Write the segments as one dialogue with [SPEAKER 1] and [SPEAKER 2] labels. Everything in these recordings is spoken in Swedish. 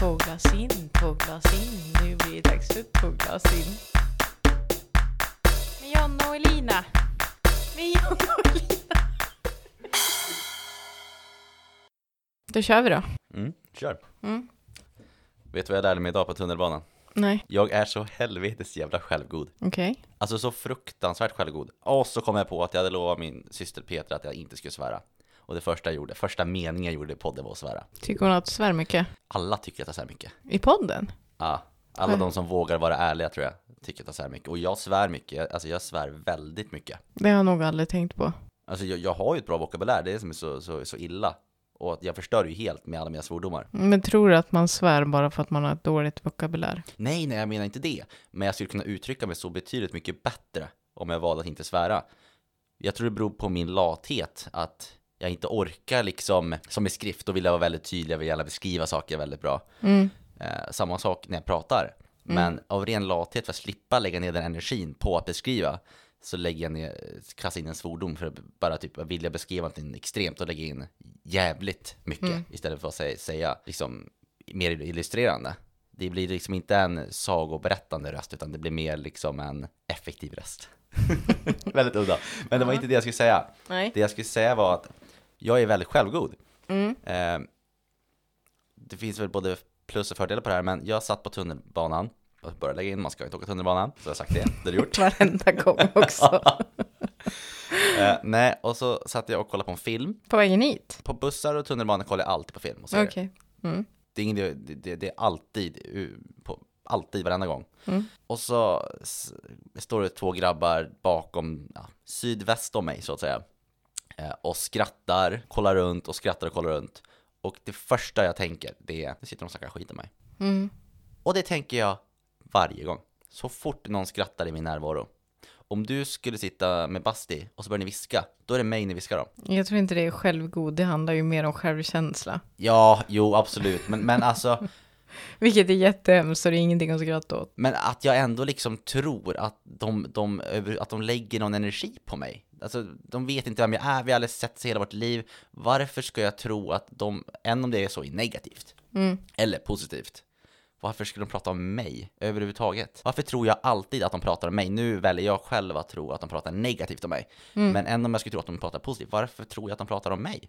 [SPEAKER 1] Två glas in, två glas in. Nu blir det dags för två glas in. Med Jonna och Elina. Med Jonna och Elina. Då kör vi då.
[SPEAKER 2] Mm, kör.
[SPEAKER 1] Mm.
[SPEAKER 2] Vet du vad jag lärde mig idag på tunnelbanan?
[SPEAKER 1] Nej,
[SPEAKER 2] Jag är så helvetes jävla självgod.
[SPEAKER 1] okej.
[SPEAKER 2] Alltså så fruktansvärt självgod. Och så kom jag på att jag hade lovat min syster Petra att jag inte skulle svära. Och det första jag gjorde, första meningen jag gjorde i podden var att svära.
[SPEAKER 1] Tycker hon att du svär mycket?
[SPEAKER 2] Alla tycker att jag svär mycket.
[SPEAKER 1] I podden?
[SPEAKER 2] Ja. Alla
[SPEAKER 1] Mm.
[SPEAKER 2] de som vågar vara ärliga tror jag tycker att jag svär mycket. Och jag svär mycket, Jag- alltså jag svär väldigt mycket.
[SPEAKER 1] Det har jag nog aldrig tänkt på.
[SPEAKER 2] Alltså jag, jag har ju ett bra vokabulär, det är det som är så, så, så illa. Och att jag förstör ju helt med alla mina svordomar.
[SPEAKER 1] Men tror du att man svär bara för att man har ett dåligt vokabulär?
[SPEAKER 2] Nej, nej, jag menar inte det. Men jag skulle kunna uttrycka mig så betydligt mycket bättre om jag valde att inte svära. Jag tror det beror på min lathet, att jag inte orkar liksom, som i skrift, då vill jag vara väldigt tydlig, jag vill gärna beskriva saker väldigt bra.
[SPEAKER 1] Mm.
[SPEAKER 2] Eh, samma sak när jag pratar. Men av ren lathet, för att slippa lägga ner den energin på att beskriva, så lägger jag ner, kastar in en svordom för att bara typ, vill jag beskriva någonting extremt och lägga in jävligt mycket istället för att säga, säga liksom mer illustrerande. Det blir liksom inte en sagoberättande röst, utan det blir mer liksom en effektiv röst. väldigt udda. Men det var inte det jag skulle säga.
[SPEAKER 1] Nej.
[SPEAKER 2] Det jag skulle säga var att jag är väldigt självgod.
[SPEAKER 1] Mm.
[SPEAKER 2] Eh, det finns väl både plus och fördelar på det här, men jag satt på tunnelbanan och började lägga in, man ska inte åka tunnelbanan, så jag har sagt det, det är det gjort.
[SPEAKER 1] Varenda gång också.
[SPEAKER 2] Eh, nej, och så satt jag och kollade på en film.
[SPEAKER 1] på vägen hit?
[SPEAKER 2] På bussar och tunnelbanor kollar jag alltid på film. Och så är
[SPEAKER 1] Okej.
[SPEAKER 2] det.
[SPEAKER 1] Mm.
[SPEAKER 2] Det, är ingen, det, det, det är alltid, u- på, alltid, varenda gång.
[SPEAKER 1] Mm.
[SPEAKER 2] Och så s- står det två grabbar bakom, ja, sydväst om mig så att säga. Eh, och skrattar, kollar runt och skrattar och kollar runt. Och det första jag tänker, det är, nu sitter de och snackar skit om mig.
[SPEAKER 1] Mm.
[SPEAKER 2] Och det tänker jag varje gång. Så fort någon skrattar i min närvaro. Om du skulle sitta med Basti och så börjar ni viska, då är det mig ni viskar om.
[SPEAKER 1] Jag tror inte det är självgod, det handlar ju mer om självkänsla.
[SPEAKER 2] Ja, jo, absolut. Men, men alltså,
[SPEAKER 1] Vilket är jättehemskt så det är ingenting att skratta åt.
[SPEAKER 2] men att jag ändå liksom tror att de, de, över- att de lägger någon energi på mig. Alltså, de vet inte vem jag är, vi har aldrig sett sig hela vårt liv. Varför ska jag tro att de, än om det är så i negativt,
[SPEAKER 1] Mm.
[SPEAKER 2] eller positivt, varför skulle de prata om mig överhuvudtaget? Varför tror jag alltid att de pratar om mig? Nu väljer jag själv att tro att de pratar negativt om mig. Men än om jag skulle tro att de pratar positivt, varför tror jag att de pratar om mig?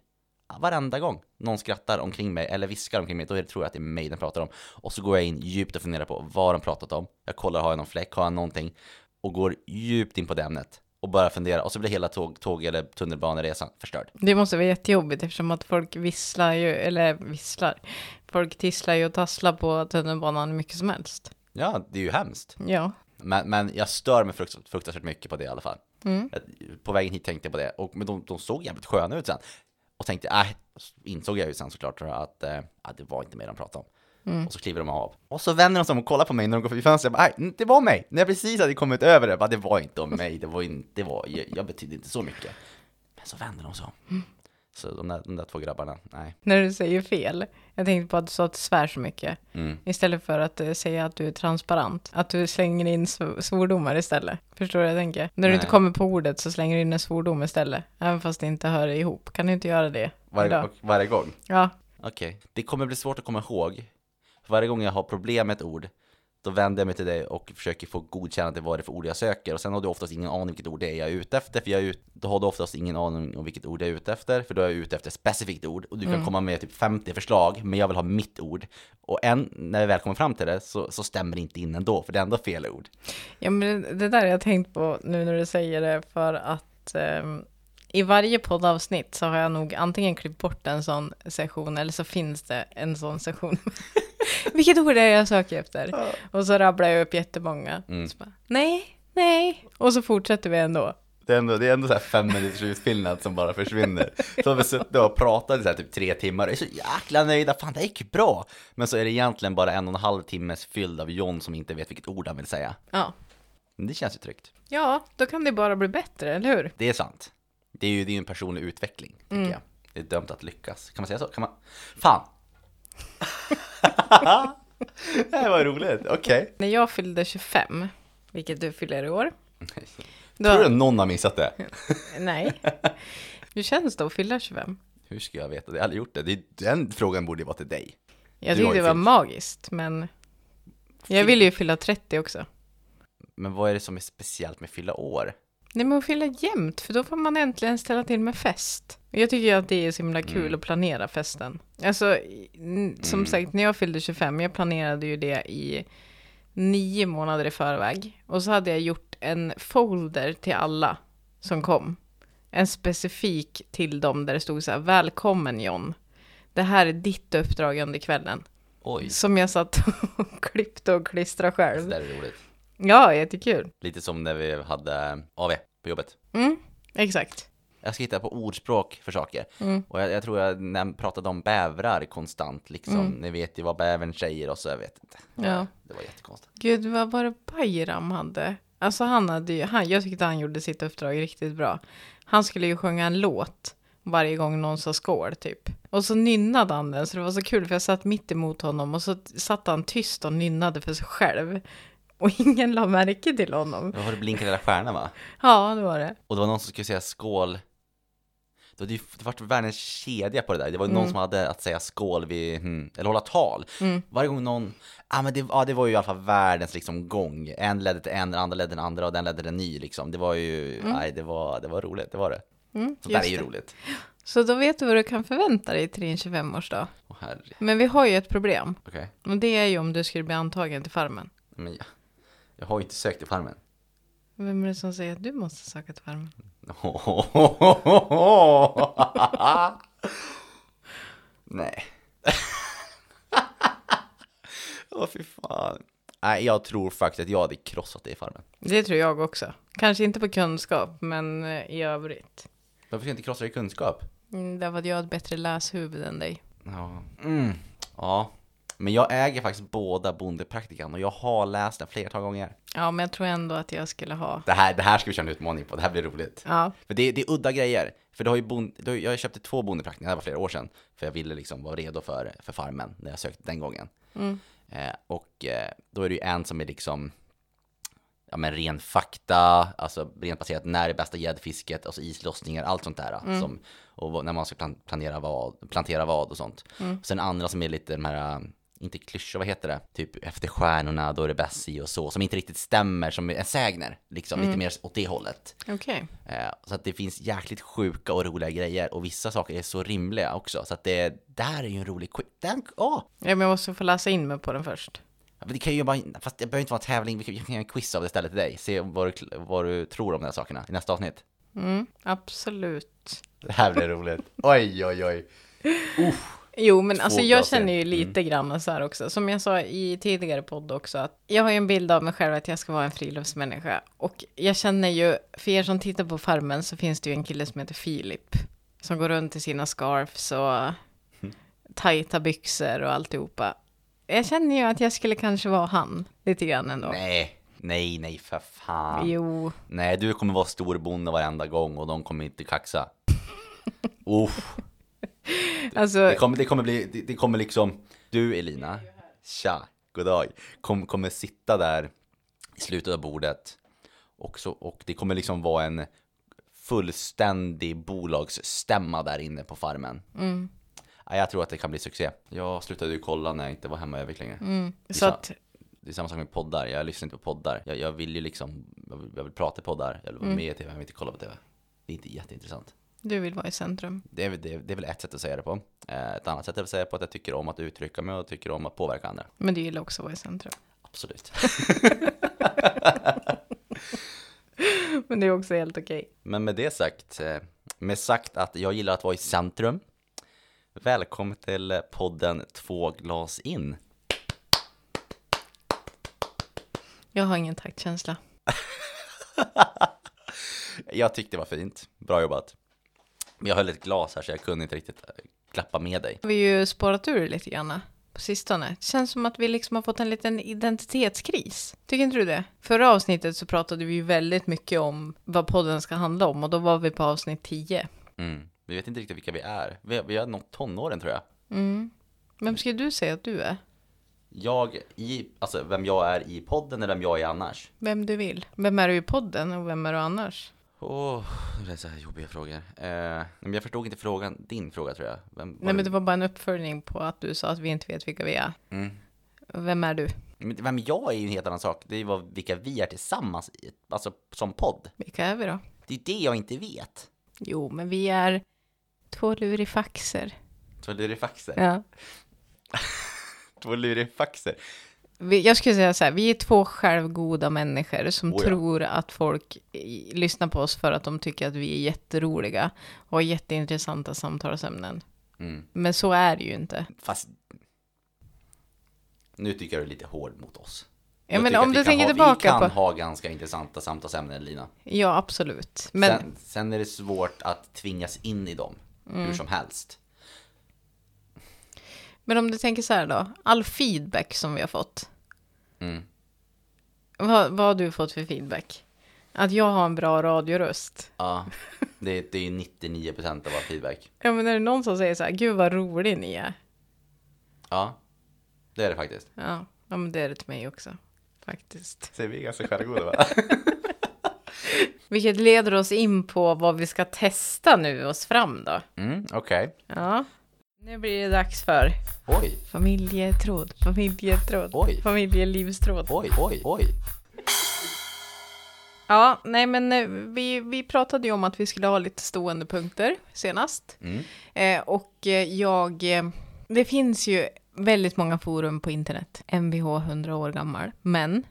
[SPEAKER 2] Varenda gång någon skrattar omkring mig eller viskar omkring mig, då är det- tror jag att det är mig de pratar om. Och så går jag in djupt och funderar på vad de pratat om. Jag kollar, har jag någon fläck, har jag någonting? Och går djupt in på det ämnet och börjar fundera. Och så blir hela tåg, tåg eller tunnelbaneresan förstörd.
[SPEAKER 1] Det måste vara jättejobbigt eftersom att folk visslar ju, eller visslar. Folk tisslar ju och tasslar på tunnelbanan hur mycket som helst.
[SPEAKER 2] Ja, det är ju hemskt.
[SPEAKER 1] Ja.
[SPEAKER 2] Men, men jag stör mig frukt- fruktansvärt mycket på det i alla fall.
[SPEAKER 1] Mm.
[SPEAKER 2] Jag- På vägen hit tänkte jag på det, och, men de, de såg jävligt sköna ut sen. Och tänkte, äh, insåg jag ju sen såklart att eh, ja, det var inte mig de pratade om. Och så kliver de av. Och så vänder de sig om och kollar på mig när de går förbi fönstret. Jag bara, "Aj, det var mig! När jag precis hade kommit över det, jag bara, det var inte om mig, det var inte, det var, jag, jag betydde inte så mycket. Men så vänder de sig om. Så de där, de där två grabbarna, nej.
[SPEAKER 1] När du säger fel. Jag tänkte på att du sa att du svär så mycket.
[SPEAKER 2] Mm.
[SPEAKER 1] Istället för att eh, säga att du är transparent. Att du slänger in sv- svordomar istället. Förstår du vad jag tänker? När du inte
[SPEAKER 2] Nej.
[SPEAKER 1] kommer på ordet så slänger du in en svordom istället. Även fast det inte hör ihop. Kan du inte göra det?
[SPEAKER 2] Varje,
[SPEAKER 1] idag?
[SPEAKER 2] och varje gång.
[SPEAKER 1] Ja.
[SPEAKER 2] Okej. Det kommer bli svårt att komma ihåg. För varje gång jag har problem med ett ord, då vänder jag mig till dig och försöker få godkännande vad det är för ord jag söker. Och sen har du oftast ingen aning vilket ord det är jag är ute efter. För jag är ut, då har du oftast ingen aning om vilket ord jag är ute efter. För då är jag ute efter ett specifikt ord. Och du kan komma med typ 50 förslag, men jag vill ha mitt ord. Och än, när vi väl kommer fram till det, så, så stämmer det inte in ändå, för det är ändå fel ord.
[SPEAKER 1] Ja, men det- det där har jag tänkt på nu när du säger det för att ehm, i varje poddavsnitt så har jag nog antingen klippt bort en sån session eller så finns det en sån session. Vilket ord är det jag söker efter? Och så rabblar jag upp jättemånga.
[SPEAKER 2] Mm.
[SPEAKER 1] Så bara, nej, nej. Och så fortsätter vi ändå.
[SPEAKER 2] Det är ändå, det är ändå så här fem minuters utfyllnad som bara försvinner. Så har vi suttit och pratat i så här typ tre timmar och är så jäkla nöjda, fan det här gick ju bra. Men så är det egentligen bara en och en halv timmes fylld av John som inte vet vilket ord han vill säga.
[SPEAKER 1] Ja.
[SPEAKER 2] Men det känns ju tryggt.
[SPEAKER 1] ja, då kan det bara bli bättre, eller hur?
[SPEAKER 2] Det är sant. Det är ju det är ju en personlig utveckling, tycker jag. Det är dömt att lyckas. Kan man säga så? Kan man? Fan! det här var roligt, okej.
[SPEAKER 1] När jag fyllde 25, vilket du fyller i år. Då,
[SPEAKER 2] Tror du någon har missat det?
[SPEAKER 1] Nej. Hur känns det att fylla 25?
[SPEAKER 2] Hur ska jag veta det? Jag har aldrig gjort det. det är, den frågan borde ju vara till dig.
[SPEAKER 1] Jag
[SPEAKER 2] Du har
[SPEAKER 1] tyckte det
[SPEAKER 2] ju
[SPEAKER 1] var
[SPEAKER 2] fyllt.
[SPEAKER 1] magiskt, men jag ville ju fylla 30 också.
[SPEAKER 2] Men vad är det som är speciellt med fylla år?
[SPEAKER 1] Nej men att fylla jämnt, för då får man äntligen ställa till med fest. Och Jag tycker ju att det är så himla kul att planera festen. Alltså, i- n- som sagt, när jag fyllde 25, jag planerade ju det i nio månader i förväg. Och så hade jag gjort en folder till alla som kom. En specifik till dem där det stod så här, välkommen John. Det här är ditt uppdrag under kvällen.
[SPEAKER 2] Oj,
[SPEAKER 1] Som jag satt och klippte och klistrade
[SPEAKER 2] det
[SPEAKER 1] själv.
[SPEAKER 2] där är roligt.
[SPEAKER 1] Ja, jättekul.
[SPEAKER 2] Lite som när vi hade AV på jobbet.
[SPEAKER 1] Mm, exakt.
[SPEAKER 2] Jag ska hitta på ordspråk för saker. Och jag, jag tror jag näm- pratade om bävrar konstant liksom. Ni vet ju vad bävern säger och så, jag vet inte.
[SPEAKER 1] Ja.
[SPEAKER 2] Det var jättekonstigt.
[SPEAKER 1] Gud, vad var det Bayram hade? Alltså han hade ju, han, jag tyckte han gjorde sitt uppdrag riktigt bra. Han skulle ju sjunga en låt varje gång någon sa skål typ. Och så nynnade han den, så det var så kul för jag satt mitt emot honom och så t- satt han tyst och nynnade för sig själv. Och ingen la märke till honom.
[SPEAKER 2] Då har det blinkat hela stjärnan va?
[SPEAKER 1] Ja, det var det.
[SPEAKER 2] Och det var någon som skulle säga skål. Det hade ju det vart världens kedja på det där. Det var ju
[SPEAKER 1] Mm.
[SPEAKER 2] någon som hade att säga skål vid, hmm, eller hålla tal. Varje gång någon, ah, men det, ja, det var ju i alla fall världens liksom gång. En ledde till en, den andra ledde den andra och den ledde den ny liksom. Det var ju, nej det var, det var roligt, det var det.
[SPEAKER 1] Mm,
[SPEAKER 2] Så där är
[SPEAKER 1] just
[SPEAKER 2] ju
[SPEAKER 1] det.
[SPEAKER 2] roligt.
[SPEAKER 1] Så då vet du vad du kan förvänta dig till din 25-årsdag.
[SPEAKER 2] Åh herre,
[SPEAKER 1] Men vi har ju ett problem.
[SPEAKER 2] okej.
[SPEAKER 1] Och det är ju om du skulle bli antagen till Farmen.
[SPEAKER 2] Men jag, jag har ju inte sökt till Farmen.
[SPEAKER 1] Vem är det som säger att du måste söka till Farmen?
[SPEAKER 2] Nej. Åh fy fan. Nej, jag tror faktiskt att jag hade krossat dig i farmen.
[SPEAKER 1] Det tror jag också. Kanske inte på kunskap, men eh, i övrigt.
[SPEAKER 2] Varför ska jag inte krossa dig i kunskap?
[SPEAKER 1] Mm, därför att jag har ett bättre läshuvud än dig.
[SPEAKER 2] Ja. Mm. ja. Men jag äger faktiskt båda Bondepraktikan och jag har läst den flertal gånger.
[SPEAKER 1] Ja, men jag tror ändå att jag skulle ha...
[SPEAKER 2] Det här, det här ska vi köra en utmaning på, det här blir roligt.
[SPEAKER 1] Ja,
[SPEAKER 2] För det, det är udda grejer. För det har ju bond, det har, ju- jag köpte två bondepraktiker, det här var flera år sedan. För jag ville liksom vara redo för, för farmen när jag sökte den gången. Eh, och eh, då är det ju en som är liksom, ja men ren fakta, alltså rent baserat när är bästa gäddfisket, alltså islossningar, allt sånt där. Som, och vad- när man ska plan, planera vad, plantera vad och sånt. Och sen andra som är lite de här, eh, inte klyschor, vad heter det? Typ efter stjärnorna, då är det bäst si och så. Som inte riktigt stämmer, som är en sägner. Liksom, lite mer åt det hållet.
[SPEAKER 1] okej.
[SPEAKER 2] Eh, Så att det finns jäkligt sjuka och roliga grejer och vissa saker är så rimliga också. Så att det där är ju en rolig quiz. Den, åh!
[SPEAKER 1] Ja, men jag måste få läsa in mig på den först.
[SPEAKER 2] Ja, men Det kan ju bara, fast det behöver inte vara en tävling, vi kan vi kan göra en quiz av det istället till dig. Se vad du, kl- vad du tror om de här sakerna i nästa avsnitt.
[SPEAKER 1] Mm, absolut.
[SPEAKER 2] Det här blir roligt. Oj, oj, oj.
[SPEAKER 1] Jo, men alltså
[SPEAKER 2] bra
[SPEAKER 1] jag
[SPEAKER 2] scener.
[SPEAKER 1] känner ju lite grann så här också. Som jag sa i tidigare podd också, att jag har ju en bild av mig själv att jag ska vara en friluftsmänniska. Och jag känner ju, för er som tittar på Farmen så finns det ju en kille som heter Filip. Som går runt i sina scarfs och
[SPEAKER 2] Mm.
[SPEAKER 1] tajta byxor och alltihopa. Jag känner ju att jag skulle kanske vara han, lite grann ändå.
[SPEAKER 2] Nej, nej, nej för fan.
[SPEAKER 1] Jo,
[SPEAKER 2] Nej, du kommer vara storbonde varenda gång och de kommer inte kaxa. Uff.
[SPEAKER 1] alltså,
[SPEAKER 2] Det kommer, det kommer bli, det, det kommer liksom, du Elina, tja, goddag, kom, kommer sitta där i slutet av bordet och, så, och det kommer liksom vara en fullständig bolagsstämma där inne på farmen.
[SPEAKER 1] mm,
[SPEAKER 2] Ja, jag tror att det kan bli succé. Jag slutade ju kolla när jag inte var hemma över längre.
[SPEAKER 1] mm. så att,
[SPEAKER 2] Det är samma sak med poddar, jag lyssnar inte på poddar. Jag, jag vill ju liksom, jag vill, jag vill prata i poddar, jag vill vara med i tv, jag vill inte kolla på tv. Det är inte jätteintressant.
[SPEAKER 1] du vill vara i centrum.
[SPEAKER 2] Det är, väl- det, är, det är väl ett sätt att säga det på. Eh, Ett annat sätt att säga det på är att jag tycker om att uttrycka mig och tycker om att påverka andra.
[SPEAKER 1] Men du gillar också att vara i centrum.
[SPEAKER 2] Absolut.
[SPEAKER 1] Men det är också helt okej.
[SPEAKER 2] Men med det sagt, eh, med sagt att jag gillar att vara i centrum. Välkommen till podden Två glas in.
[SPEAKER 1] Jag har ingen taktkänsla.
[SPEAKER 2] Jag tyckte det var fint. Bra jobbat. Men jag höll ett glas här så jag kunde inte riktigt eh, klappa med dig.
[SPEAKER 1] har vi ju spårat ur lite grann på sistone. Det känns som att vi liksom har fått en liten identitetskris. Tycker inte du det? Förra avsnittet så pratade vi ju väldigt mycket om vad podden ska handla om och då var vi på avsnitt 10.
[SPEAKER 2] Mm. Vi vet inte riktigt vilka vi är. Vi, vi har nått tonåren tror jag.
[SPEAKER 1] Vem ska du säga att du är?
[SPEAKER 2] Jag, i, alltså vem jag är i podden eller vem jag är annars.
[SPEAKER 1] Vem du vill. Vem är du i podden och vem är du annars?
[SPEAKER 2] Åh, nu är det så här jobbiga frågor. Eh, men jag förstod inte frågan, din fråga tror jag. Vem, var
[SPEAKER 1] Nej, men det var bara en uppföljning på att du sa att vi inte vet vilka vi är.
[SPEAKER 2] Mm.
[SPEAKER 1] Vem är du?
[SPEAKER 2] Men Vem jag är ju en helt annan sak. Det är ju vad, vilka vi är tillsammans, i, alltså som podd.
[SPEAKER 1] Vilka är vi då?
[SPEAKER 2] Det är det jag inte vet.
[SPEAKER 1] Jo, men vi är två lurifaxer.
[SPEAKER 2] Två lurifaxer.
[SPEAKER 1] Ja.
[SPEAKER 2] Två lurifaxer.
[SPEAKER 1] Vi, jag skulle säga så här, vi är två självgoda människor som
[SPEAKER 2] Oh ja.
[SPEAKER 1] tror att folk i, lyssnar på oss för att de tycker att vi är jätteroliga och har jätteintressanta samtalsämnen.
[SPEAKER 2] Mm.
[SPEAKER 1] Men så är det ju inte.
[SPEAKER 2] Fast nu tycker jag du är lite hård mot oss.
[SPEAKER 1] Ja,
[SPEAKER 2] Jag
[SPEAKER 1] men
[SPEAKER 2] tycker
[SPEAKER 1] om
[SPEAKER 2] att vi
[SPEAKER 1] du
[SPEAKER 2] kan
[SPEAKER 1] tänker
[SPEAKER 2] ha,
[SPEAKER 1] tillbaka
[SPEAKER 2] Vi kan
[SPEAKER 1] på-
[SPEAKER 2] ha ganska intressanta samtalsämnen Lina.
[SPEAKER 1] Ja, absolut. Men
[SPEAKER 2] Sen, sen är det svårt att tvingas in i dem
[SPEAKER 1] Mm.
[SPEAKER 2] hur som helst.
[SPEAKER 1] Men om du tänker så här då, all feedback som vi har fått.
[SPEAKER 2] Mm.
[SPEAKER 1] Vad, vad har du fått för feedback? Att jag har en bra radioröst.
[SPEAKER 2] Ja, det, det är 99% av all feedback.
[SPEAKER 1] Ja men är det någon som säger så här, gud vad rolig ni är.
[SPEAKER 2] Ja, det är det faktiskt.
[SPEAKER 1] Ja, ja men det är det till mig också. Faktiskt.
[SPEAKER 2] Så vi är ganska självgoda va?
[SPEAKER 1] Vilket leder oss in på vad vi ska testa nu oss fram då.
[SPEAKER 2] Mm, okej.
[SPEAKER 1] Ja. Nu blir det dags för
[SPEAKER 2] Oj,
[SPEAKER 1] familjetråd, familjetråd,
[SPEAKER 2] Oj.
[SPEAKER 1] familjelivstråd.
[SPEAKER 2] oj, oj, oj.
[SPEAKER 1] Ja, nej men eh, vi, vi pratade ju om att vi skulle ha lite stående punkter senast.
[SPEAKER 2] Mm.
[SPEAKER 1] Eh, och eh, jag... eh, Det finns ju väldigt många forum på internet. MVH 100 år gammal. Men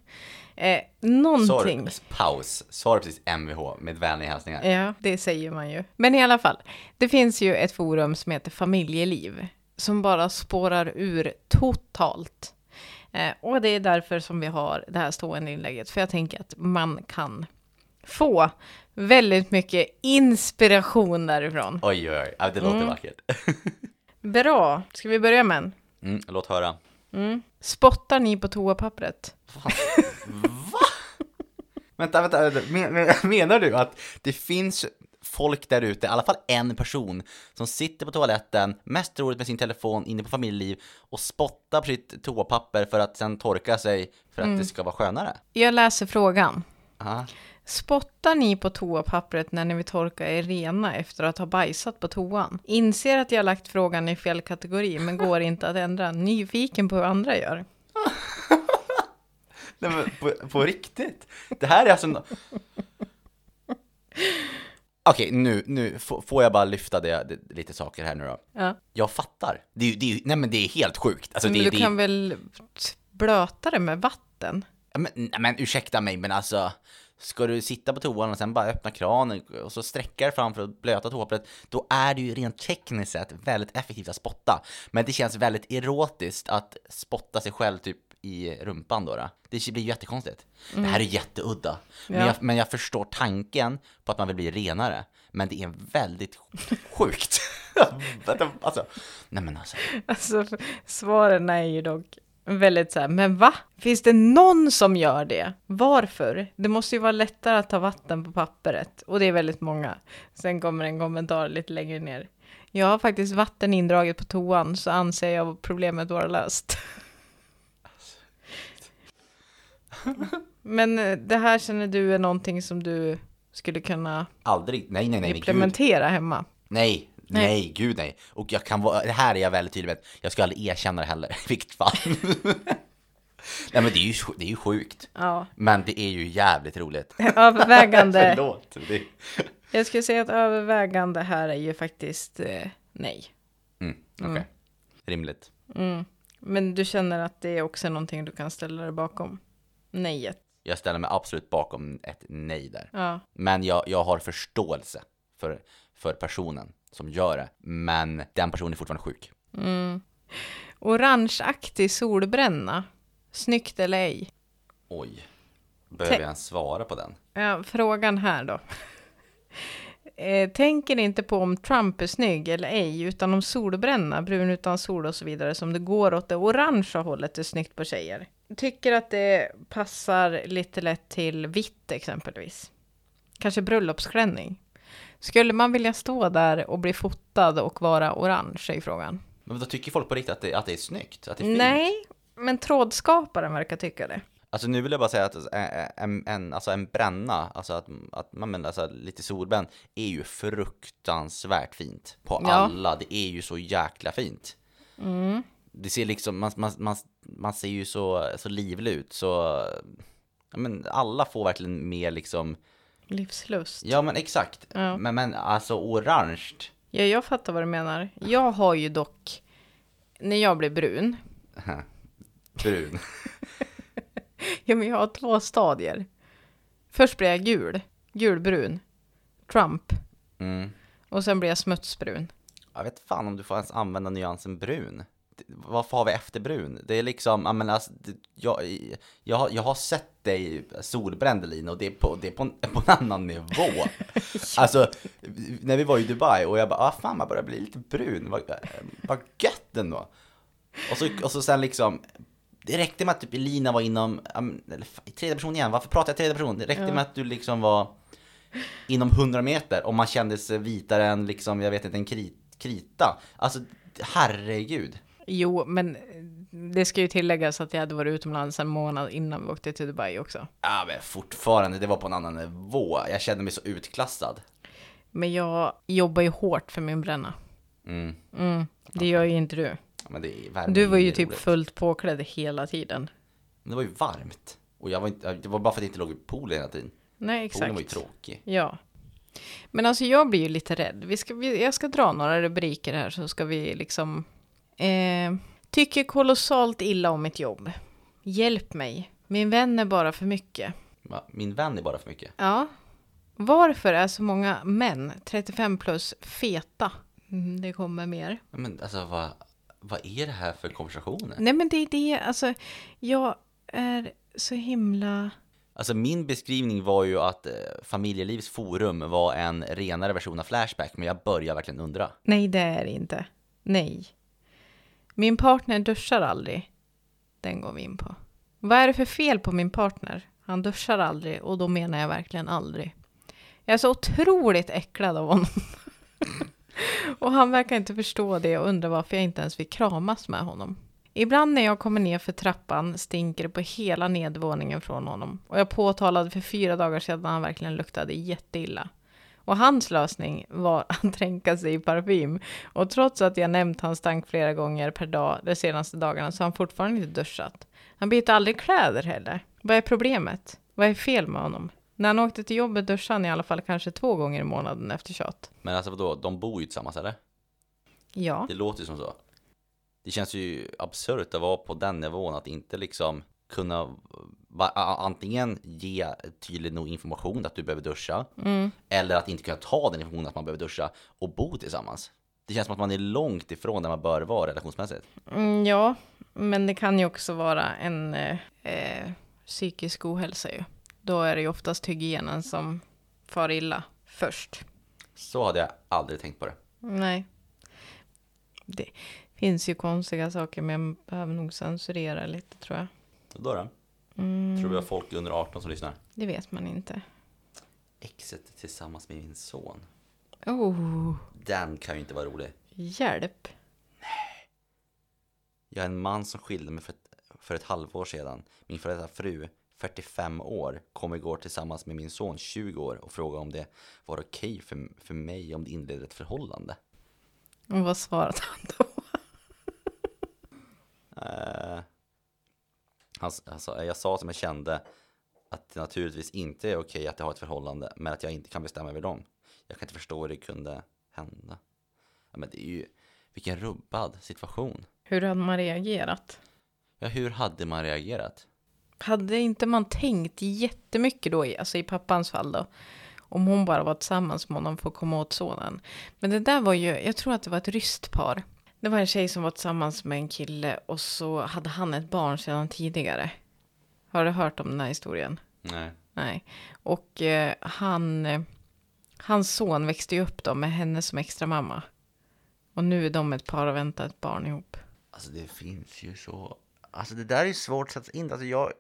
[SPEAKER 1] eh, någonting...
[SPEAKER 2] Sorry, paus. Sorry precis MVH med vänliga hälsningar.
[SPEAKER 1] Ja, det säger man ju. Men i alla fall, det finns ju ett forum som heter Familjeliv som bara spårar ur totalt. Eh, och det är därför som vi har det här stående inlägget, för jag tänker att man kan få väldigt mycket inspiration därifrån.
[SPEAKER 2] Oj, oj, oj. Ja, Det låter
[SPEAKER 1] Mm.
[SPEAKER 2] vackert.
[SPEAKER 1] Bra, ska vi börja med en?
[SPEAKER 2] Mm, låt höra.
[SPEAKER 1] Spottar ni på toapappret?
[SPEAKER 2] Vänta, vänta, vänta. Men- men- menar du att det finns folk där ute, i alla fall en person, som sitter på toaletten, mest troligt med sin telefon, inne på familjeliv och spottar på sitt toapapper för att sen torka sig för att
[SPEAKER 1] Mm.
[SPEAKER 2] det ska vara skönare?
[SPEAKER 1] Jag läser frågan.
[SPEAKER 2] Aha.
[SPEAKER 1] Spottar ni på toapappret när ni vill torka er rena efter att ha bajsat på toan? Inser att jag lagt frågan i fel kategori men går inte att ändra. Nyfiken på hur andra gör.
[SPEAKER 2] Nej men på, på riktigt? Det här är alltså... en- Okej, nu, nu f- får jag bara lyfta det, det, lite saker här nu då.
[SPEAKER 1] Ja.
[SPEAKER 2] Jag fattar. Det är ju, det är ju, nej men det är helt sjukt. Alltså,
[SPEAKER 1] Men
[SPEAKER 2] det,
[SPEAKER 1] du
[SPEAKER 2] det,
[SPEAKER 1] kan väl blöta det med vatten?
[SPEAKER 2] Ja, Men, nej, men ursäkta mig, men alltså Ska du sitta på toan och sen bara öppna kranen och så sträcka dig fram för att blöta toapappret Då är det ju rent tekniskt sett väldigt effektivt att spotta Men det känns väldigt erotiskt att spotta sig själv typ i rumpan då, då. Det blir ju jättekonstigt Det här är jätteudda men,
[SPEAKER 1] Ja.
[SPEAKER 2] jag, men jag förstår tanken på att man vill bli renare Men det är väldigt sjukt Vänta, alltså, nej men alltså
[SPEAKER 1] Alltså, svaren är ju dock väldigt så här, men va? Finns det någon som gör det? Varför? Det måste ju vara lättare att ta vatten på papperet. Och det är väldigt många. Sen kommer en kommentar lite längre ner. Jag har faktiskt vatten indraget på toan så anser jag problemet vara löst. Men eh, det här känner du är någonting som du skulle kunna
[SPEAKER 2] aldrig, nej nej nej, nej gud.
[SPEAKER 1] implementera hemma?
[SPEAKER 2] Nej,
[SPEAKER 1] Nej.
[SPEAKER 2] nej, gud nej. Och jag kan vara, det här är jag väldigt tydlig med, jag ska aldrig erkänna det heller, i vilket fall. nej men det är, ju, sj- det är ju sjukt.
[SPEAKER 1] Ja.
[SPEAKER 2] Men det är ju jävligt roligt.
[SPEAKER 1] Övervägande.
[SPEAKER 2] Förlåt. Det...
[SPEAKER 1] Jag skulle säga att övervägande här är ju faktiskt eh, nej.
[SPEAKER 2] Mm, Okej, rimligt.
[SPEAKER 1] Men du känner att det är också någonting du kan ställa dig bakom? Nejet.
[SPEAKER 2] Jag ställer mig absolut bakom ett nej där.
[SPEAKER 1] Ja.
[SPEAKER 2] Men jag, jag har förståelse för, för personen som gör det. Men den personen är fortfarande sjuk.
[SPEAKER 1] Orangeaktig solbränna. Snyggt eller ej?
[SPEAKER 2] Oj. Behöver jag ens svara på den?
[SPEAKER 1] Ja, frågan här då. Eh, tänker inte på om Trump är snygg eller ej, utan om solbränna, brun utan sol och så vidare, som det går åt det orangea hållet är snyggt på tjejer. Tycker att det passar lite lätt till vitt exempelvis. Kanske bröllopsklänning. Skulle man vilja stå där och bli fotad och vara orange i frågan?
[SPEAKER 2] Men då tycker folk på riktigt att det, att det är snyggt? Att det är fint?
[SPEAKER 1] Nej, men trådskaparen verkar tycka det.
[SPEAKER 2] Alltså nu vill jag bara säga att alltså, ä- ä- en, en, alltså en bränna, alltså att, att man menar alltså lite solbränd, är ju fruktansvärt fint på
[SPEAKER 1] Ja. Mm.
[SPEAKER 2] alla. Det är ju så jäkla fint. Det ser liksom, man, man, man, man ser ju så, så livlig ut så, ja, men alla får verkligen mer liksom,
[SPEAKER 1] Livslust.
[SPEAKER 2] ja men exakt.
[SPEAKER 1] Ja.
[SPEAKER 2] Men, men alltså orange,
[SPEAKER 1] Ja, jag fattar vad du menar. Jag har ju dock, när jag blir brun,
[SPEAKER 2] brun.
[SPEAKER 1] ja, men jag har två stadier. Först blir jag gul, gulbrun, Trump,
[SPEAKER 2] Mm.
[SPEAKER 1] och sen blir jag smutsbrun.
[SPEAKER 2] Jag vet fan om du får ens använda nyansen brun. Det- Varför har vi efter brun? Det är liksom, jag menar, alltså, det- jag, jag, har- jag har sett dig solbränd Elina och det är på, det är på, en, på en annan nivå. Alltså, när vi var i Dubai och jag bara, ah, fan man börjar bli lite brun, vad, vad gött ändå. Och så, och så sen liksom, det räckte med att typ Elina var inom, ja, men, eller fan, i tredje person igen, varför pratar jag i tredje person? Det räckte med att du liksom var inom 100 meter och man kände sig vitare än liksom, jag vet inte, en krit, krita. Alltså, herregud.
[SPEAKER 1] Jo, men det ska ju tilläggas att jag hade varit utomlands en månad innan vi åkte till Dubai också.
[SPEAKER 2] Ja, men fortfarande, det var på en annan nivå. Jag kände mig så utklassad.
[SPEAKER 1] Men jag jobbar ju hårt för min bränna.
[SPEAKER 2] Mm.
[SPEAKER 1] Mm, det gör ju inte du.
[SPEAKER 2] Ja, men det är värme
[SPEAKER 1] Du var
[SPEAKER 2] är
[SPEAKER 1] ju
[SPEAKER 2] inget
[SPEAKER 1] typ
[SPEAKER 2] roligt.
[SPEAKER 1] fullt påklädd hela tiden.
[SPEAKER 2] Men Det var ju varmt. Och jag var inte, det var bara för att jag inte låg i poolen hela tiden.
[SPEAKER 1] Nej,
[SPEAKER 2] Poolen var ju
[SPEAKER 1] exakt.
[SPEAKER 2] tråkig.
[SPEAKER 1] Ja. Men alltså jag blir ju lite rädd. Vi ska, vi, jag ska dra några rubriker här så ska vi liksom... Eh, tycker kolossalt illa om mitt jobb. Hjälp mig. Min vän är bara för mycket.
[SPEAKER 2] Va? Min vän är bara för mycket.
[SPEAKER 1] Ja. Varför är så många män, 35 plus, feta? Mm, det kommer mer.
[SPEAKER 2] Ja, Men alltså vad, vad är det här för konversationer?
[SPEAKER 1] Nej men det är det, alltså jag är så himla...
[SPEAKER 2] Alltså min beskrivning var ju att eh, familjelivs forum var en renare version av Flashback, men jag börjar verkligen undra.
[SPEAKER 1] Nej, det är det inte. Nej. Min partner duschar aldrig. Den går vi in på. Vad är det för fel på min partner? Han duschar aldrig och då menar jag verkligen aldrig. Jag är så otroligt äcklad av honom. och han verkar inte förstå det och undrar varför jag inte ens vill kramas med honom. Ibland när jag kommer ner för trappan stinker det på hela nedervåningen från honom. Och jag påtalade för fyra dagar sedan att han verkligen luktade jätteilla. Och hans lösning var att dränka sig i parfym. Och trots att jag nämnt hans stank flera gånger per dag de senaste dagarna så har han fortfarande inte duschat. Han byter aldrig kläder heller. Vad är problemet? Vad är fel med honom? När han åkte till jobbet duschade han i alla fall kanske två gånger i månaden efter tjat.
[SPEAKER 2] Men alltså vadå, de bor ju tillsammans eller?
[SPEAKER 1] Ja.
[SPEAKER 2] Det låter ju som så. Det känns ju absurt att vara på den nivån, att inte liksom kunna va- a- antingen ge tydlig nog information att du behöver duscha,
[SPEAKER 1] Mm.
[SPEAKER 2] eller att inte kunna ta den informationen att man behöver duscha och bo tillsammans. Det känns som att man är långt ifrån där man bör vara relationsmässigt.
[SPEAKER 1] Mm, ja, men det kan ju också vara en eh, eh, psykisk ohälsa ju. Då är det ju oftast hygienen som far illa först.
[SPEAKER 2] Så hade jag aldrig tänkt på det.
[SPEAKER 1] Nej. Det finns ju konstiga saker men jag behöver nog censurera lite tror jag. Mm,
[SPEAKER 2] Och då då? Tror vi har folk under 18 som lyssnar?
[SPEAKER 1] Det vet man inte.
[SPEAKER 2] Exet tillsammans med min son.
[SPEAKER 1] Oh,
[SPEAKER 2] Den kan ju inte vara rolig.
[SPEAKER 1] hjälp.
[SPEAKER 2] Jag är en man som skilde mig för ett, för ett halvår sedan. Min före detta fru, 45 år, kom igår tillsammans med min son, 20 år, och frågade om det var okej för, för mig om det inledde ett förhållande.
[SPEAKER 1] Och vad svarade han då?
[SPEAKER 2] Eh, han, s- han sa- jag sa som jag kände att det naturligtvis inte är okej att jag har ett förhållande, men att jag inte kan bestämma över dem. Jag kan inte förstå hur det kunde hända. Ja, men det är ju, vilken rubbad situation.
[SPEAKER 1] Hur hade man reagerat?
[SPEAKER 2] Ja, hur hade man reagerat?
[SPEAKER 1] Hade inte man tänkt jättemycket då, i- alltså i pappans fall då? Om hon bara var tillsammans med honom för att komma åt sonen. Men det där var ju, jag tror att det var ett ryskt par. Det var en tjej som var tillsammans med en kille och så hade han ett barn sedan tidigare. Har du hört om den här historien?
[SPEAKER 2] Nej.
[SPEAKER 1] Nej. Och eh, han, eh, hans son växte ju upp då med henne som extra mamma. Och nu är de ett par och väntar ett barn ihop.
[SPEAKER 2] Alltså det finns ju så... Alltså det där är svårt att sätta in. Alltså jag...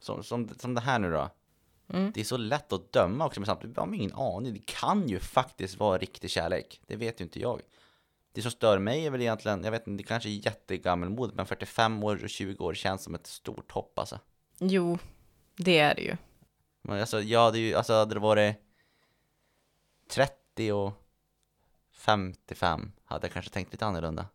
[SPEAKER 2] Som, som, som det här nu då. Det är så lätt att döma också men samtidigt har man ingen aning. Det kan ju faktiskt vara riktig kärlek. Det vet ju inte jag. Det som stör mig är väl egentligen, jag vet inte, det kanske är jättegammelmodigt men 45 år och 20 år känns som ett stort hopp alltså.
[SPEAKER 1] Jo, det är det ju.
[SPEAKER 2] Men alltså, ja, det är ju, alltså hade det varit 30 och 55 hade jag kanske tänkt lite annorlunda.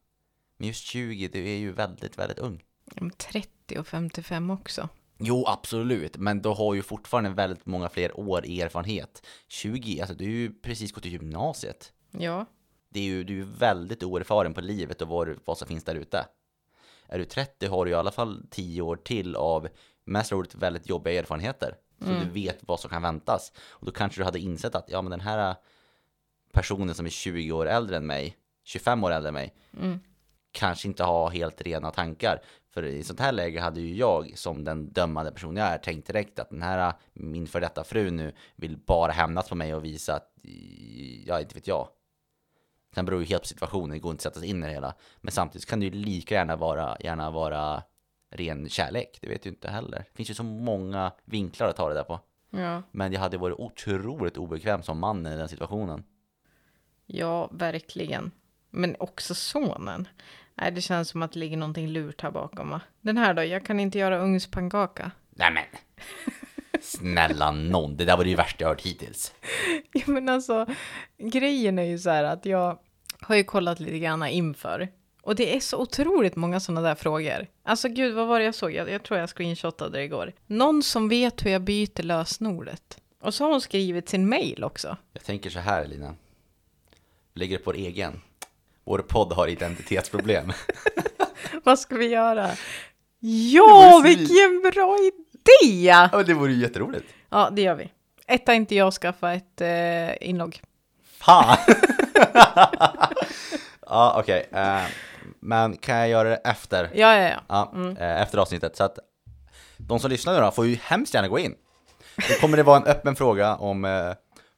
[SPEAKER 2] Men just 20, du är ju väldigt, väldigt ung.
[SPEAKER 1] Mm, 30 och 55 också.
[SPEAKER 2] Jo, absolut, men du har ju fortfarande väldigt många fler år erfarenhet. 20, alltså du är ju precis gått i gymnasiet.
[SPEAKER 1] Ja.
[SPEAKER 2] Det är ju, du är ju väldigt oerfaren på livet och vad, vad som finns där ute. Är du 30 har du i alla fall 10 år till av mest roligt väldigt jobbiga erfarenheter. Så du vet vad som kan väntas. Och då kanske du hade insett att ja, men den här personen som är 20 år äldre än mig, 25 år äldre än mig,
[SPEAKER 1] Mm.
[SPEAKER 2] kanske inte har helt rena tankar. För i sånt här läge hade ju jag som den dömande person jag är tänkt direkt att den här min för detta fru nu vill bara hämnas på mig och visa att ja, inte vet jag. Sen beror ju helt på situationen, det går inte att sätta sig in i det hela. Men samtidigt kan det ju lika gärna vara, gärna vara ren kärlek, det vet du inte heller. Det finns ju så många vinklar att ta det där på.
[SPEAKER 1] Ja.
[SPEAKER 2] Men jag hade varit otroligt obekväm som man i den situationen.
[SPEAKER 1] Ja, verkligen. Men också sonen. Nej, det känns som att det ligger någonting lurt här bakom va? Den här då, jag kan inte göra ugnspannkaka.
[SPEAKER 2] Nej men! Snälla nån, det där var det ju värsta jag hört hittills.
[SPEAKER 1] Ja, men alltså, grejen är ju så här att jag har ju kollat lite grann inför. Och det är så otroligt många sådana där frågor. Alltså gud, vad var det jag såg? Jag, jag tror jag screenshotade det igår. Någon som vet hur jag byter lösenordet. Och så har hon skrivit sin mail också.
[SPEAKER 2] Jag tänker så här Lina. Vi lägger det på vår egen. Vår podd har identitetsproblem.
[SPEAKER 1] Vad ska vi göra? Ja,
[SPEAKER 2] Det vore svin-
[SPEAKER 1] vilken bra idé!
[SPEAKER 2] ja, men det vore ju jätteroligt.
[SPEAKER 1] Ja, det gör vi. Etta inte jag skaffa ett eh, inlogg.
[SPEAKER 2] Fan! ja, okej. eh, men kan jag göra det efter?
[SPEAKER 1] Ja, ja, ja.
[SPEAKER 2] Ja, eh, efter avsnittet. Så att de som lyssnar nu då får ju hemskt gärna gå in. Då kommer det vara en öppen fråga om eh,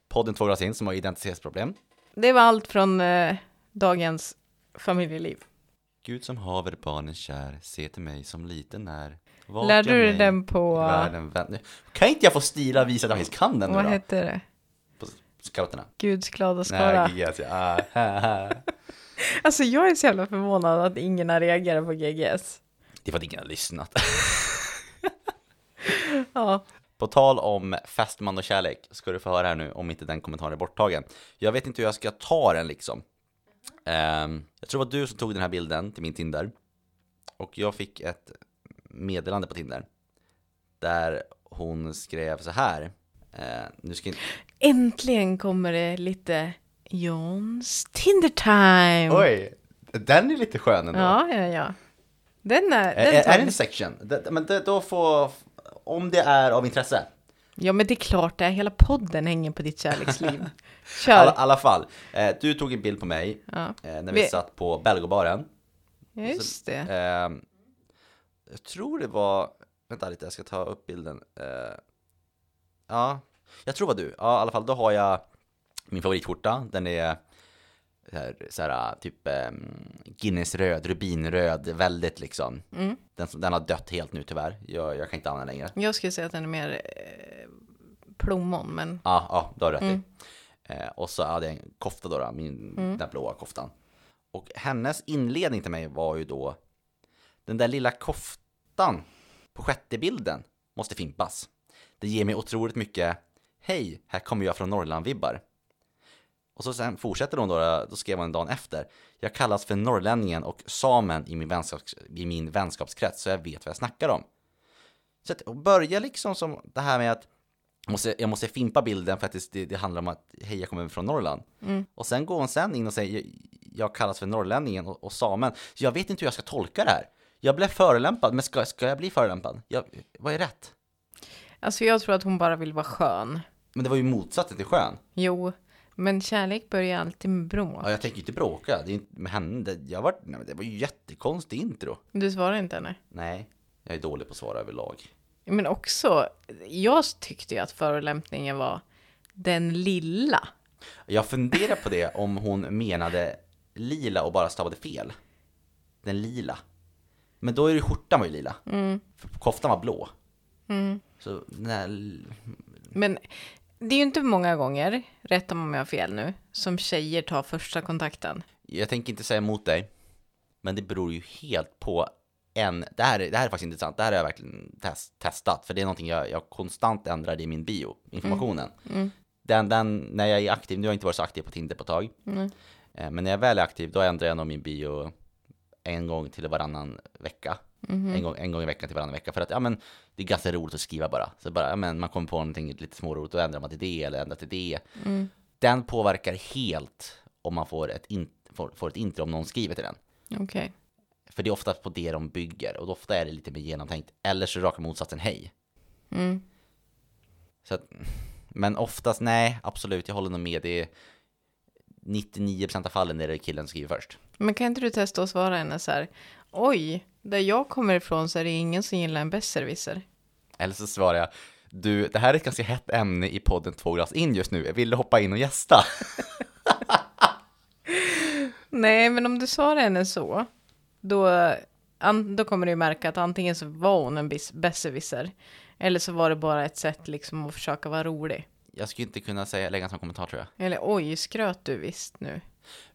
[SPEAKER 2] podden Två glas in som har identitetsproblem.
[SPEAKER 1] Det var allt från eh, dagens familjeliv.
[SPEAKER 2] Gud som haver barnen kär, se till mig som liten är. Vaka
[SPEAKER 1] Lärde du dig
[SPEAKER 2] mig,
[SPEAKER 1] den på-
[SPEAKER 2] Världen vänder. Kan inte jag få stila visa att jag faktiskt kan den nu
[SPEAKER 1] Vad
[SPEAKER 2] då?
[SPEAKER 1] hette det?
[SPEAKER 2] På scouterna?
[SPEAKER 1] Guds glada skara.
[SPEAKER 2] Nej, GGS. ja. Ah,
[SPEAKER 1] Alltså jag är så jävla förvånad att ingen har reagerat på GGS.
[SPEAKER 2] Det var att ingen har lyssnat.
[SPEAKER 1] Ja,
[SPEAKER 2] På tal om fästman och kärlek ska du få höra här nu om inte den kommentaren är borttagen. Jag vet inte hur jag ska ta den liksom. Ehm, jag tror det var du som tog den här bilden till min Tinder. Och jag fick ett meddelande på Tinder. Där hon skrev så här. Eh, nu ska inte...
[SPEAKER 1] äntligen kommer det lite Johns Tinder time.
[SPEAKER 2] Oj! Den är lite skön ändå.
[SPEAKER 1] Ja, ja, ja. Den är... Den
[SPEAKER 2] Är, är
[SPEAKER 1] tar
[SPEAKER 2] det
[SPEAKER 1] vi.
[SPEAKER 2] en section? Det- Men det, då får... Om det är av intresse.
[SPEAKER 1] Ja, men det är klart det är. Hela podden hänger på ditt kärleksliv.
[SPEAKER 2] I
[SPEAKER 1] Kör.
[SPEAKER 2] alla, alla fall. Eh, du tog en bild på mig
[SPEAKER 1] Ja.
[SPEAKER 2] eh, när vi,
[SPEAKER 1] Vi-
[SPEAKER 2] satt på Belgobaren.
[SPEAKER 1] Just det.
[SPEAKER 2] Ehm, jag tror det var, vänta lite jag ska ta upp bilden. Eh, ja, jag tror det var du. Ja i alla fall, då har jag min favoritskjorta. Den är så här, så här, typ um, Guinness-röd, rubinröd, väldigt liksom.
[SPEAKER 1] Mm.
[SPEAKER 2] Den, som- den har dött helt nu tyvärr. Jag, jag kan inte använda den längre.
[SPEAKER 1] Jag skulle säga att den är mer eh, plommon, men
[SPEAKER 2] Ja, ja, du har rätt i. Eh, och så hade jag en kofta då, då min, den där blåa koftan. Och hennes inledning till mig var ju då, den där lilla koftan på sjätte bilden måste fimpas. Det ger mig otroligt mycket, hej, här kommer jag från Norrland-vibbar. Och så sen fortsätter hon då, då skrev hon dagen efter. Jag kallas för norrlänningen och samen i min, vänskaps, i min vänskapskrets så jag vet vad jag snackar om. Så att börja liksom som det här med att jag måste, jag måste fimpa bilden för att det, det, det handlar om att hej jag kommer från Norrland. Och sen går hon sen in och säger jag kallas för norrlänningen och, och samen. Så jag vet inte hur jag ska tolka det här. Jag blev förolämpad, men ska, ska jag bli förolämpad? Jag, vad är rätt?
[SPEAKER 1] alltså jag tror att hon bara vill vara skön.
[SPEAKER 2] Men det var ju motsatsen till skön.
[SPEAKER 1] Jo, men kärlek börjar alltid med bråk.
[SPEAKER 2] Ja, jag tänker ju inte bråka det är inte, med henne. Det, jag var, nej, men det var ju jättekonstig intro.
[SPEAKER 1] Du svarar inte henne.
[SPEAKER 2] Nej, jag är dålig på att svara överlag.
[SPEAKER 1] Men också, jag tyckte ju att förolämpningen var den lilla.
[SPEAKER 2] Jag funderar på det om hon menade lila och bara stavade fel. Den lila. Men då är det skjortan var ju lila. För koftan var blå. Så den här, l-
[SPEAKER 1] Men det är ju inte många gånger, rätta mig om jag har fel nu, som tjejer tar första kontakten.
[SPEAKER 2] jag tänker inte säga emot dig. Men det beror ju helt på en, det här, är- det här är faktiskt intressant, det här har jag verkligen test, testat, för det är någonting jag, jag konstant ändrar i min bio, informationen.
[SPEAKER 1] Mm.
[SPEAKER 2] Den, den, när jag är aktiv, nu har jag inte varit så aktiv på Tinder på ett tag,
[SPEAKER 1] Mm.
[SPEAKER 2] eh, men när jag väl är aktiv då ändrar jag nog min bio en gång till varannan vecka.
[SPEAKER 1] Mhm.
[SPEAKER 2] En, gång, en gång i veckan till varannan vecka, för att ja, men, det är ganska roligt att skriva bara. Så bara, ja, men, man kommer på någonting lite småroligt, och ändrar man till det eller ändrar till det.
[SPEAKER 1] Mm.
[SPEAKER 2] Den påverkar helt om man får ett, in, får, får ett intro om någon skriver till den.
[SPEAKER 1] Okej.
[SPEAKER 2] För det är ofta på det de bygger och ofta är det lite mer genomtänkt. Eller så är raka motsatsen hej.
[SPEAKER 1] Mm.
[SPEAKER 2] Så att, men oftast, nej, absolut, jag håller nog med. Det är 99% av fallen är det killen som skriver först.
[SPEAKER 1] Men kan inte du testa att svara henne så här? Oj, där jag kommer ifrån så är det ingen som gillar en besserwisser.
[SPEAKER 2] Eller så svarar jag, du, det här är ett ganska hett ämne i podden Två glas in just nu. Vill du hoppa in och gästa?
[SPEAKER 1] Nej, men om du svarar henne så, då, an, då kommer du ju märka att antingen så var hon en bis- besserwisser, eller så var det bara ett sätt liksom att försöka vara rolig.
[SPEAKER 2] Jag skulle inte kunna säga, lägga en sån kommentar tror jag.
[SPEAKER 1] Eller oj, skröt du visst nu?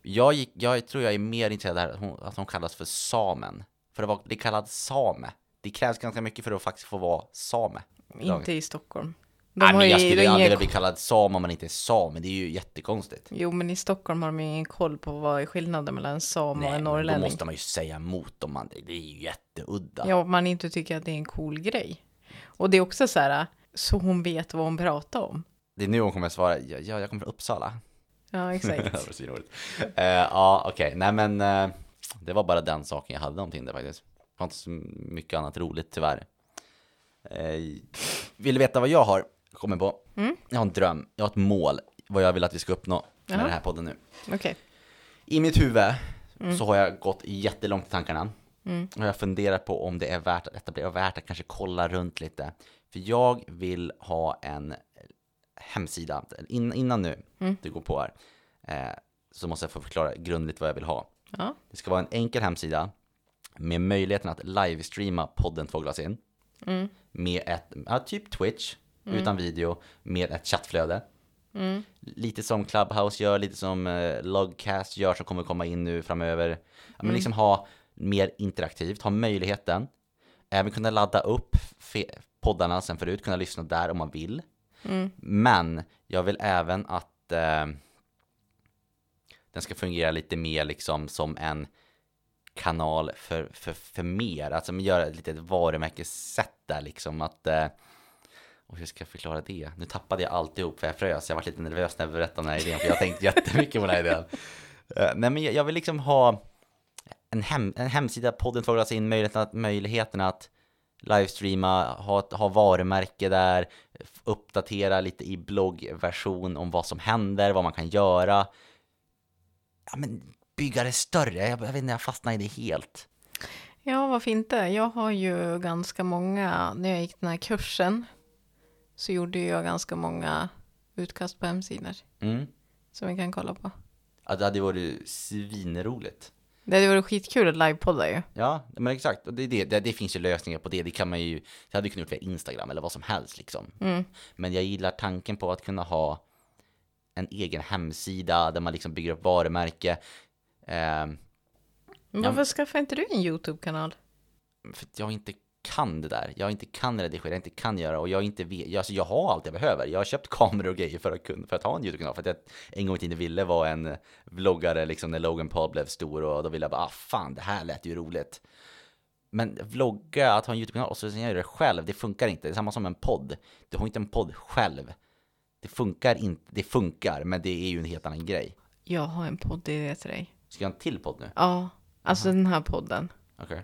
[SPEAKER 2] Jag, gick, jag tror jag är mer intresserad av det här, att hon, att hon kallas för samen. För att vara bli kallad same. Det krävs ganska mycket för att faktiskt få vara same.
[SPEAKER 1] Inte i Stockholm. De
[SPEAKER 2] Nej,
[SPEAKER 1] har
[SPEAKER 2] men jag
[SPEAKER 1] ju-
[SPEAKER 2] skulle
[SPEAKER 1] de
[SPEAKER 2] ju
[SPEAKER 1] har ingen
[SPEAKER 2] aldrig vilja bli kallad sam om man inte är sam, men det är ju jättekonstigt.
[SPEAKER 1] Jo, men i Stockholm har de ju ingen koll på vad är skillnaden mellan en sam och
[SPEAKER 2] Nej,
[SPEAKER 1] en
[SPEAKER 2] men då
[SPEAKER 1] norrlänning.
[SPEAKER 2] måste man ju säga emot om man, det är ju jätteudda.
[SPEAKER 1] Ja, om man inte tycker att det är en cool grej. Och det är också så här, så hon vet vad hon pratar om.
[SPEAKER 2] Det är nu hon kommer svara, ja, ja jag kommer från Uppsala.
[SPEAKER 1] Ja,
[SPEAKER 2] Det var
[SPEAKER 1] exakt.
[SPEAKER 2] så roligt. Eh, Ja, okej, nej men eh, det var bara den saken jag hade om Tinder faktiskt. Det var inte så mycket annat roligt tyvärr. Eh, Vill du veta vad jag har kommit på? Jag har en dröm, jag har ett mål, vad jag vill att vi ska uppnå med
[SPEAKER 1] Jaha.
[SPEAKER 2] den här podden nu.
[SPEAKER 1] Okej.
[SPEAKER 2] I mitt huvud så har jag gått jättelångt i tankarna. Och jag funderar på om det är värt att etablera, värt att kanske kolla runt lite. För jag vill ha en eh, hemsida, In, innan nu, du går på här, eh, så måste jag få förklara grundligt vad jag vill ha.
[SPEAKER 1] Ja,
[SPEAKER 2] Det ska vara en enkel hemsida med möjligheten att livestreama podden Två glas in. Med ett, ja, typ Twitch, utan video, med ett chattflöde. Lite som Clubhouse gör, lite som eh, Logcast gör som kommer komma in nu framöver. Ja, men liksom ha mer interaktivt, ha möjligheten. Även kunna ladda upp fe- poddarna sen förut, kunna lyssna där om man vill.
[SPEAKER 1] mm.
[SPEAKER 2] Men jag vill även att eh, den ska fungera lite mer liksom som en kanal för, för, för mer, alltså men göra ett litet varumärkessätt där liksom att eh, och hur ska jag förklara det? Nu tappade jag alltihop för jag frös, jag var lite nervös när jag berättade den här idén för jag har tänkt jättemycket på den här idén. Eh, nej men jag, jag vill liksom ha en, hem, en hemsida, podden får alltså in möjligheten att, möjligheten att livestreama, ha, ett- ha varumärke där, f- uppdatera lite i bloggversion om vad som händer, vad man kan göra. Ja, men bygga det större, jag, jag vet inte, jag fastnar i det helt.
[SPEAKER 1] ja varför inte? Jag har ju ganska många, när jag gick den här kursen så gjorde jag ganska många utkast på hemsidor
[SPEAKER 2] Mm.
[SPEAKER 1] som vi kan kolla på.
[SPEAKER 2] Ja, det hade varit svinroligt.
[SPEAKER 1] Det hade varit skitkul att livepodda ju.
[SPEAKER 2] Ja, men exakt. Och det, är det, det, det finns ju lösningar på det. Det kan man ju, det hade ju kunnat gjort via Instagram eller vad som helst liksom.
[SPEAKER 1] Mm.
[SPEAKER 2] Men jag gillar tanken på att kunna ha en egen hemsida där man liksom bygger upp varumärke. Ehm,
[SPEAKER 1] Men
[SPEAKER 2] Ja,
[SPEAKER 1] varför skaffar inte du en YouTube-kanal?
[SPEAKER 2] för att jag inte kan det där. Jag inte kan redigera, jag inte kan göra och jag inte vet. Jag, alltså jag har allt jag behöver. Jag har köpt kameror och grejer för att, kunna, för att ha en YouTube-kanal. För att jag en gång i tiden ville vara en vloggare liksom när Logan Paul blev stor och då ville jag bara, ah fan det här lät ju roligt. Men vlogga, att ha en YouTube-kanal och så sen gör det själv, det funkar inte. Det är samma som en podd. Du har inte en podd själv. Det funkar inte, det funkar, men det är ju en helt annan grej.
[SPEAKER 1] Jag har en poddidé till dig.
[SPEAKER 2] Ska jag ha en till podd nu?
[SPEAKER 1] Ja, alltså den här podden.
[SPEAKER 2] Okej,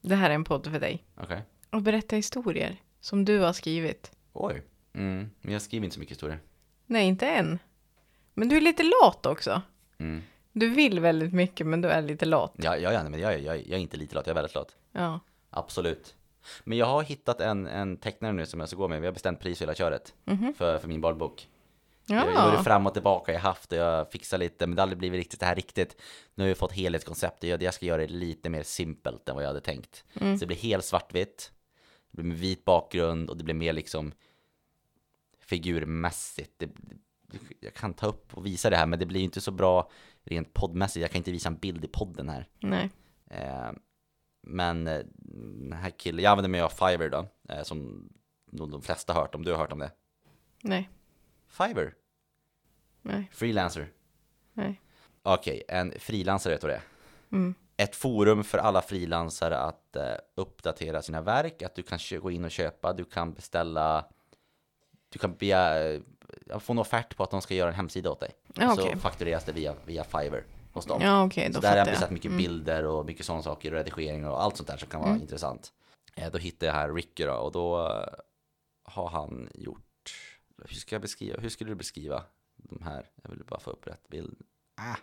[SPEAKER 1] Det här är en podd för dig.
[SPEAKER 2] okej.
[SPEAKER 1] Och berätta historier som du har skrivit.
[SPEAKER 2] Oj. Mm, men jag skriver inte så mycket historier.
[SPEAKER 1] Nej, inte än. Men du är lite lat också.
[SPEAKER 2] Mm.
[SPEAKER 1] Du vill väldigt mycket, men du är lite lat.
[SPEAKER 2] Ja, ja, ja, nej, men jag, jag, jag är inte lite lat, jag är väldigt lat.
[SPEAKER 1] Ja.
[SPEAKER 2] Absolut. Men jag har hittat en, en tecknare nu som jag ska gå med. Vi har bestämt pris för hela köret. För, för min barnbok. Jag har ju
[SPEAKER 1] Ja.
[SPEAKER 2] varit fram och tillbaka, jag har haft och jag fixar lite. Men det har aldrig blivit riktigt det här riktigt. Nu har jag fått helhetskoncept och jag, jag ska göra det lite mer simpelt än vad jag hade tänkt.
[SPEAKER 1] Mm.
[SPEAKER 2] Så det blir helt svartvitt. Det blir med vit bakgrund och det blir mer liksom figurmässigt. Det, det- jag kan ta upp och visa det här men det blir ju inte så bra rent poddmässigt. Jag kan inte visa en bild i podden här.
[SPEAKER 1] Nej.
[SPEAKER 2] Eh, men eh, den här killen, jag använder mig av Fiverr då, eh, som nog de flesta har hört om, du har hört om det.
[SPEAKER 1] Nej,
[SPEAKER 2] Fiverr,
[SPEAKER 1] nej,
[SPEAKER 2] freelancer.
[SPEAKER 1] nej.
[SPEAKER 2] Okej, en frilansare vet du vad det är.
[SPEAKER 1] Mm.
[SPEAKER 2] Ett forum för alla frilansare att eh, uppdatera sina verk, att du kan kö- gå in och köpa, du kan beställa, du kan begära, få en offert på att de ska göra en hemsida åt dig.
[SPEAKER 1] Ja, okej.
[SPEAKER 2] Så faktureras det via, via Fiverr hos dem.
[SPEAKER 1] Ja, okej,
[SPEAKER 2] Så
[SPEAKER 1] då
[SPEAKER 2] där har jag
[SPEAKER 1] fattar jag.
[SPEAKER 2] besatt
[SPEAKER 1] Mm.
[SPEAKER 2] mycket bilder och mycket sådana saker, och redigering och allt sånt där som kan vara intressant. Eh, Då hittade jag här Ricky då, och då eh, har han gjort, hur ska jag beskriva, hur skulle du beskriva de här? Jag vill bara få upp rätt bild. Ah.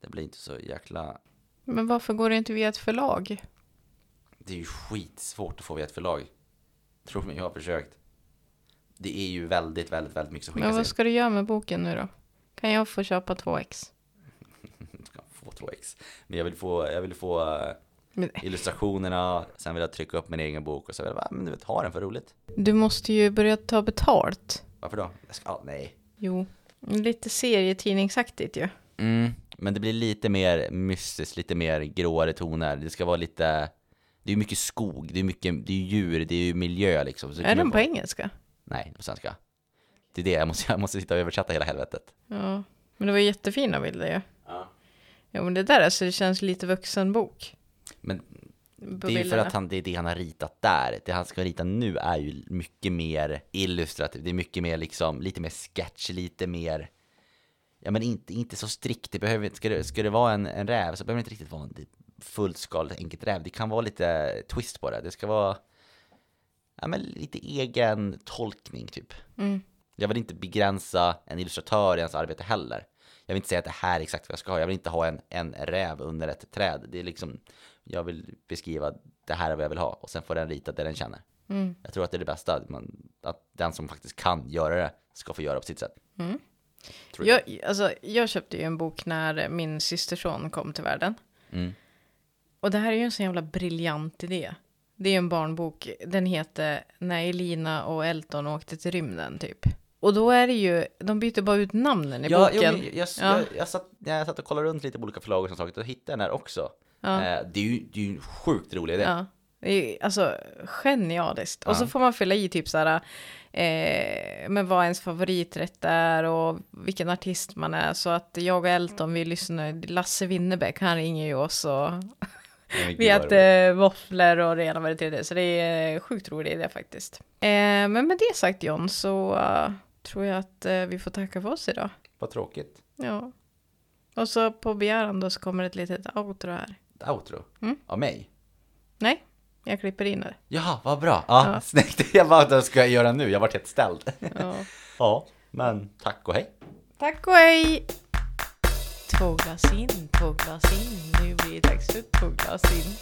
[SPEAKER 2] Det blir inte så jäkla,
[SPEAKER 1] Men varför går det inte via ett förlag?
[SPEAKER 2] det är ju skitsvårt att få via ett förlag. Tror mig, jag har försökt. Det är ju väldigt, väldigt, väldigt mycket som
[SPEAKER 1] Men
[SPEAKER 2] skickas in.
[SPEAKER 1] vad ska du göra med boken nu då? Kan jag få köpa 2x?
[SPEAKER 2] ska få 2x. Men jag vill få, jag vill få eh,
[SPEAKER 1] Men-
[SPEAKER 2] illustrationerna, sen vill jag trycka upp min egen bok och så vill jag bara, "Ah, men du vet, ha den för roligt.
[SPEAKER 1] Du måste ju börja ta betalt.
[SPEAKER 2] Varför då? Jag ska, ah, nej.
[SPEAKER 1] Jo, lite serietidningsaktigt ju.
[SPEAKER 2] Mm, men det blir lite mer mystiskt, lite mer gråare toner. Det ska vara lite, det är ju mycket skog, det är mycket, det är ju djur, det är ju miljö liksom. Så
[SPEAKER 1] Är
[SPEAKER 2] kan
[SPEAKER 1] den
[SPEAKER 2] jag
[SPEAKER 1] på
[SPEAKER 2] få-
[SPEAKER 1] engelska?
[SPEAKER 2] Nej, på svenska. Det är det, jag måste, jag måste sitta och översätta hela helvetet.
[SPEAKER 1] Ja, men det var jättefina bilder ju.
[SPEAKER 2] Ja.
[SPEAKER 1] Jo, men det där alltså, det känns lite vuxenbok.
[SPEAKER 2] Men
[SPEAKER 1] på
[SPEAKER 2] det är ju för
[SPEAKER 1] bilderna.
[SPEAKER 2] att han, det är det han har ritat där. Det han ska rita nu är ju mycket mer illustrativt. Det är mycket mer liksom, lite mer sketch, lite mer... Ja men inte, inte så strikt. Det behöver, inte- ska, det, ska det vara en, en räv så behöver det inte riktigt vara en typ fullskaligt enkelt räv. Det kan vara lite twist på det. Det ska vara... Ja men lite egen tolkning typ. Jag vill inte begränsa en illustratör i hans arbete heller. Jag vill inte säga att det här är exakt vad jag ska ha. Jag vill inte ha en, en räv under ett träd. Det är liksom, jag vill beskriva det här är vad jag vill ha och sen får den rita det den känner.
[SPEAKER 1] Mm.
[SPEAKER 2] Jag tror att det är det bästa, att man, att den som faktiskt kan göra det ska få göra på sitt sätt. Tror jag.
[SPEAKER 1] Jag, alltså, jag köpte ju en bok när min systerson kom till världen.
[SPEAKER 2] Mm.
[SPEAKER 1] Och det här är ju en så jävla briljant idé. Det är ju en barnbok. Den heter När Elina och Elton åkte till rymden typ. Och då är det ju, de byter bara ut namnen i
[SPEAKER 2] Ja, jo,
[SPEAKER 1] boken.
[SPEAKER 2] men jag, jag,
[SPEAKER 1] Ja.
[SPEAKER 2] jag, jag, satt, jag satt och kollade runt lite på olika förlag och sånt saker och hittade den här också. Eh, det, är ju, det är ju en sjukt rolig idé.
[SPEAKER 1] Ja. Det är ju, alltså genialiskt. Och så får man fylla i typ så här, eh, men vad ens favoriträtt är och vilken artist man är. Så att jag och Elton, vi lyssnar, Lasse Winnerbäck, han ringer ju oss och
[SPEAKER 2] Men gud,
[SPEAKER 1] vi
[SPEAKER 2] vad roligt.
[SPEAKER 1] äter våfflor och det ena med det tredje. Så det är en sjukt rolig idé faktiskt. Eh, men med det sagt John så eh, tror jag att eh, vi får tacka för oss idag.
[SPEAKER 2] Vad tråkigt.
[SPEAKER 1] Ja. Och så på begäran då så kommer ett litet outro här.
[SPEAKER 2] Ett Outro.
[SPEAKER 1] Mm.
[SPEAKER 2] Av mig.
[SPEAKER 1] Nej, jag klipper in det.
[SPEAKER 2] Ja, vad bra. Ja, Snyggt. Jag bara, vad ska jag göra nu? Jag vart helt ställd.
[SPEAKER 1] Ja.
[SPEAKER 2] ja, men tack och hej.
[SPEAKER 1] Tack och hej! Två glas in, två glas in. Nu blir det dags för två glas in.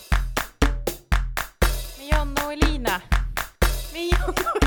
[SPEAKER 1] Med Jonna och Elina. Med Jonna och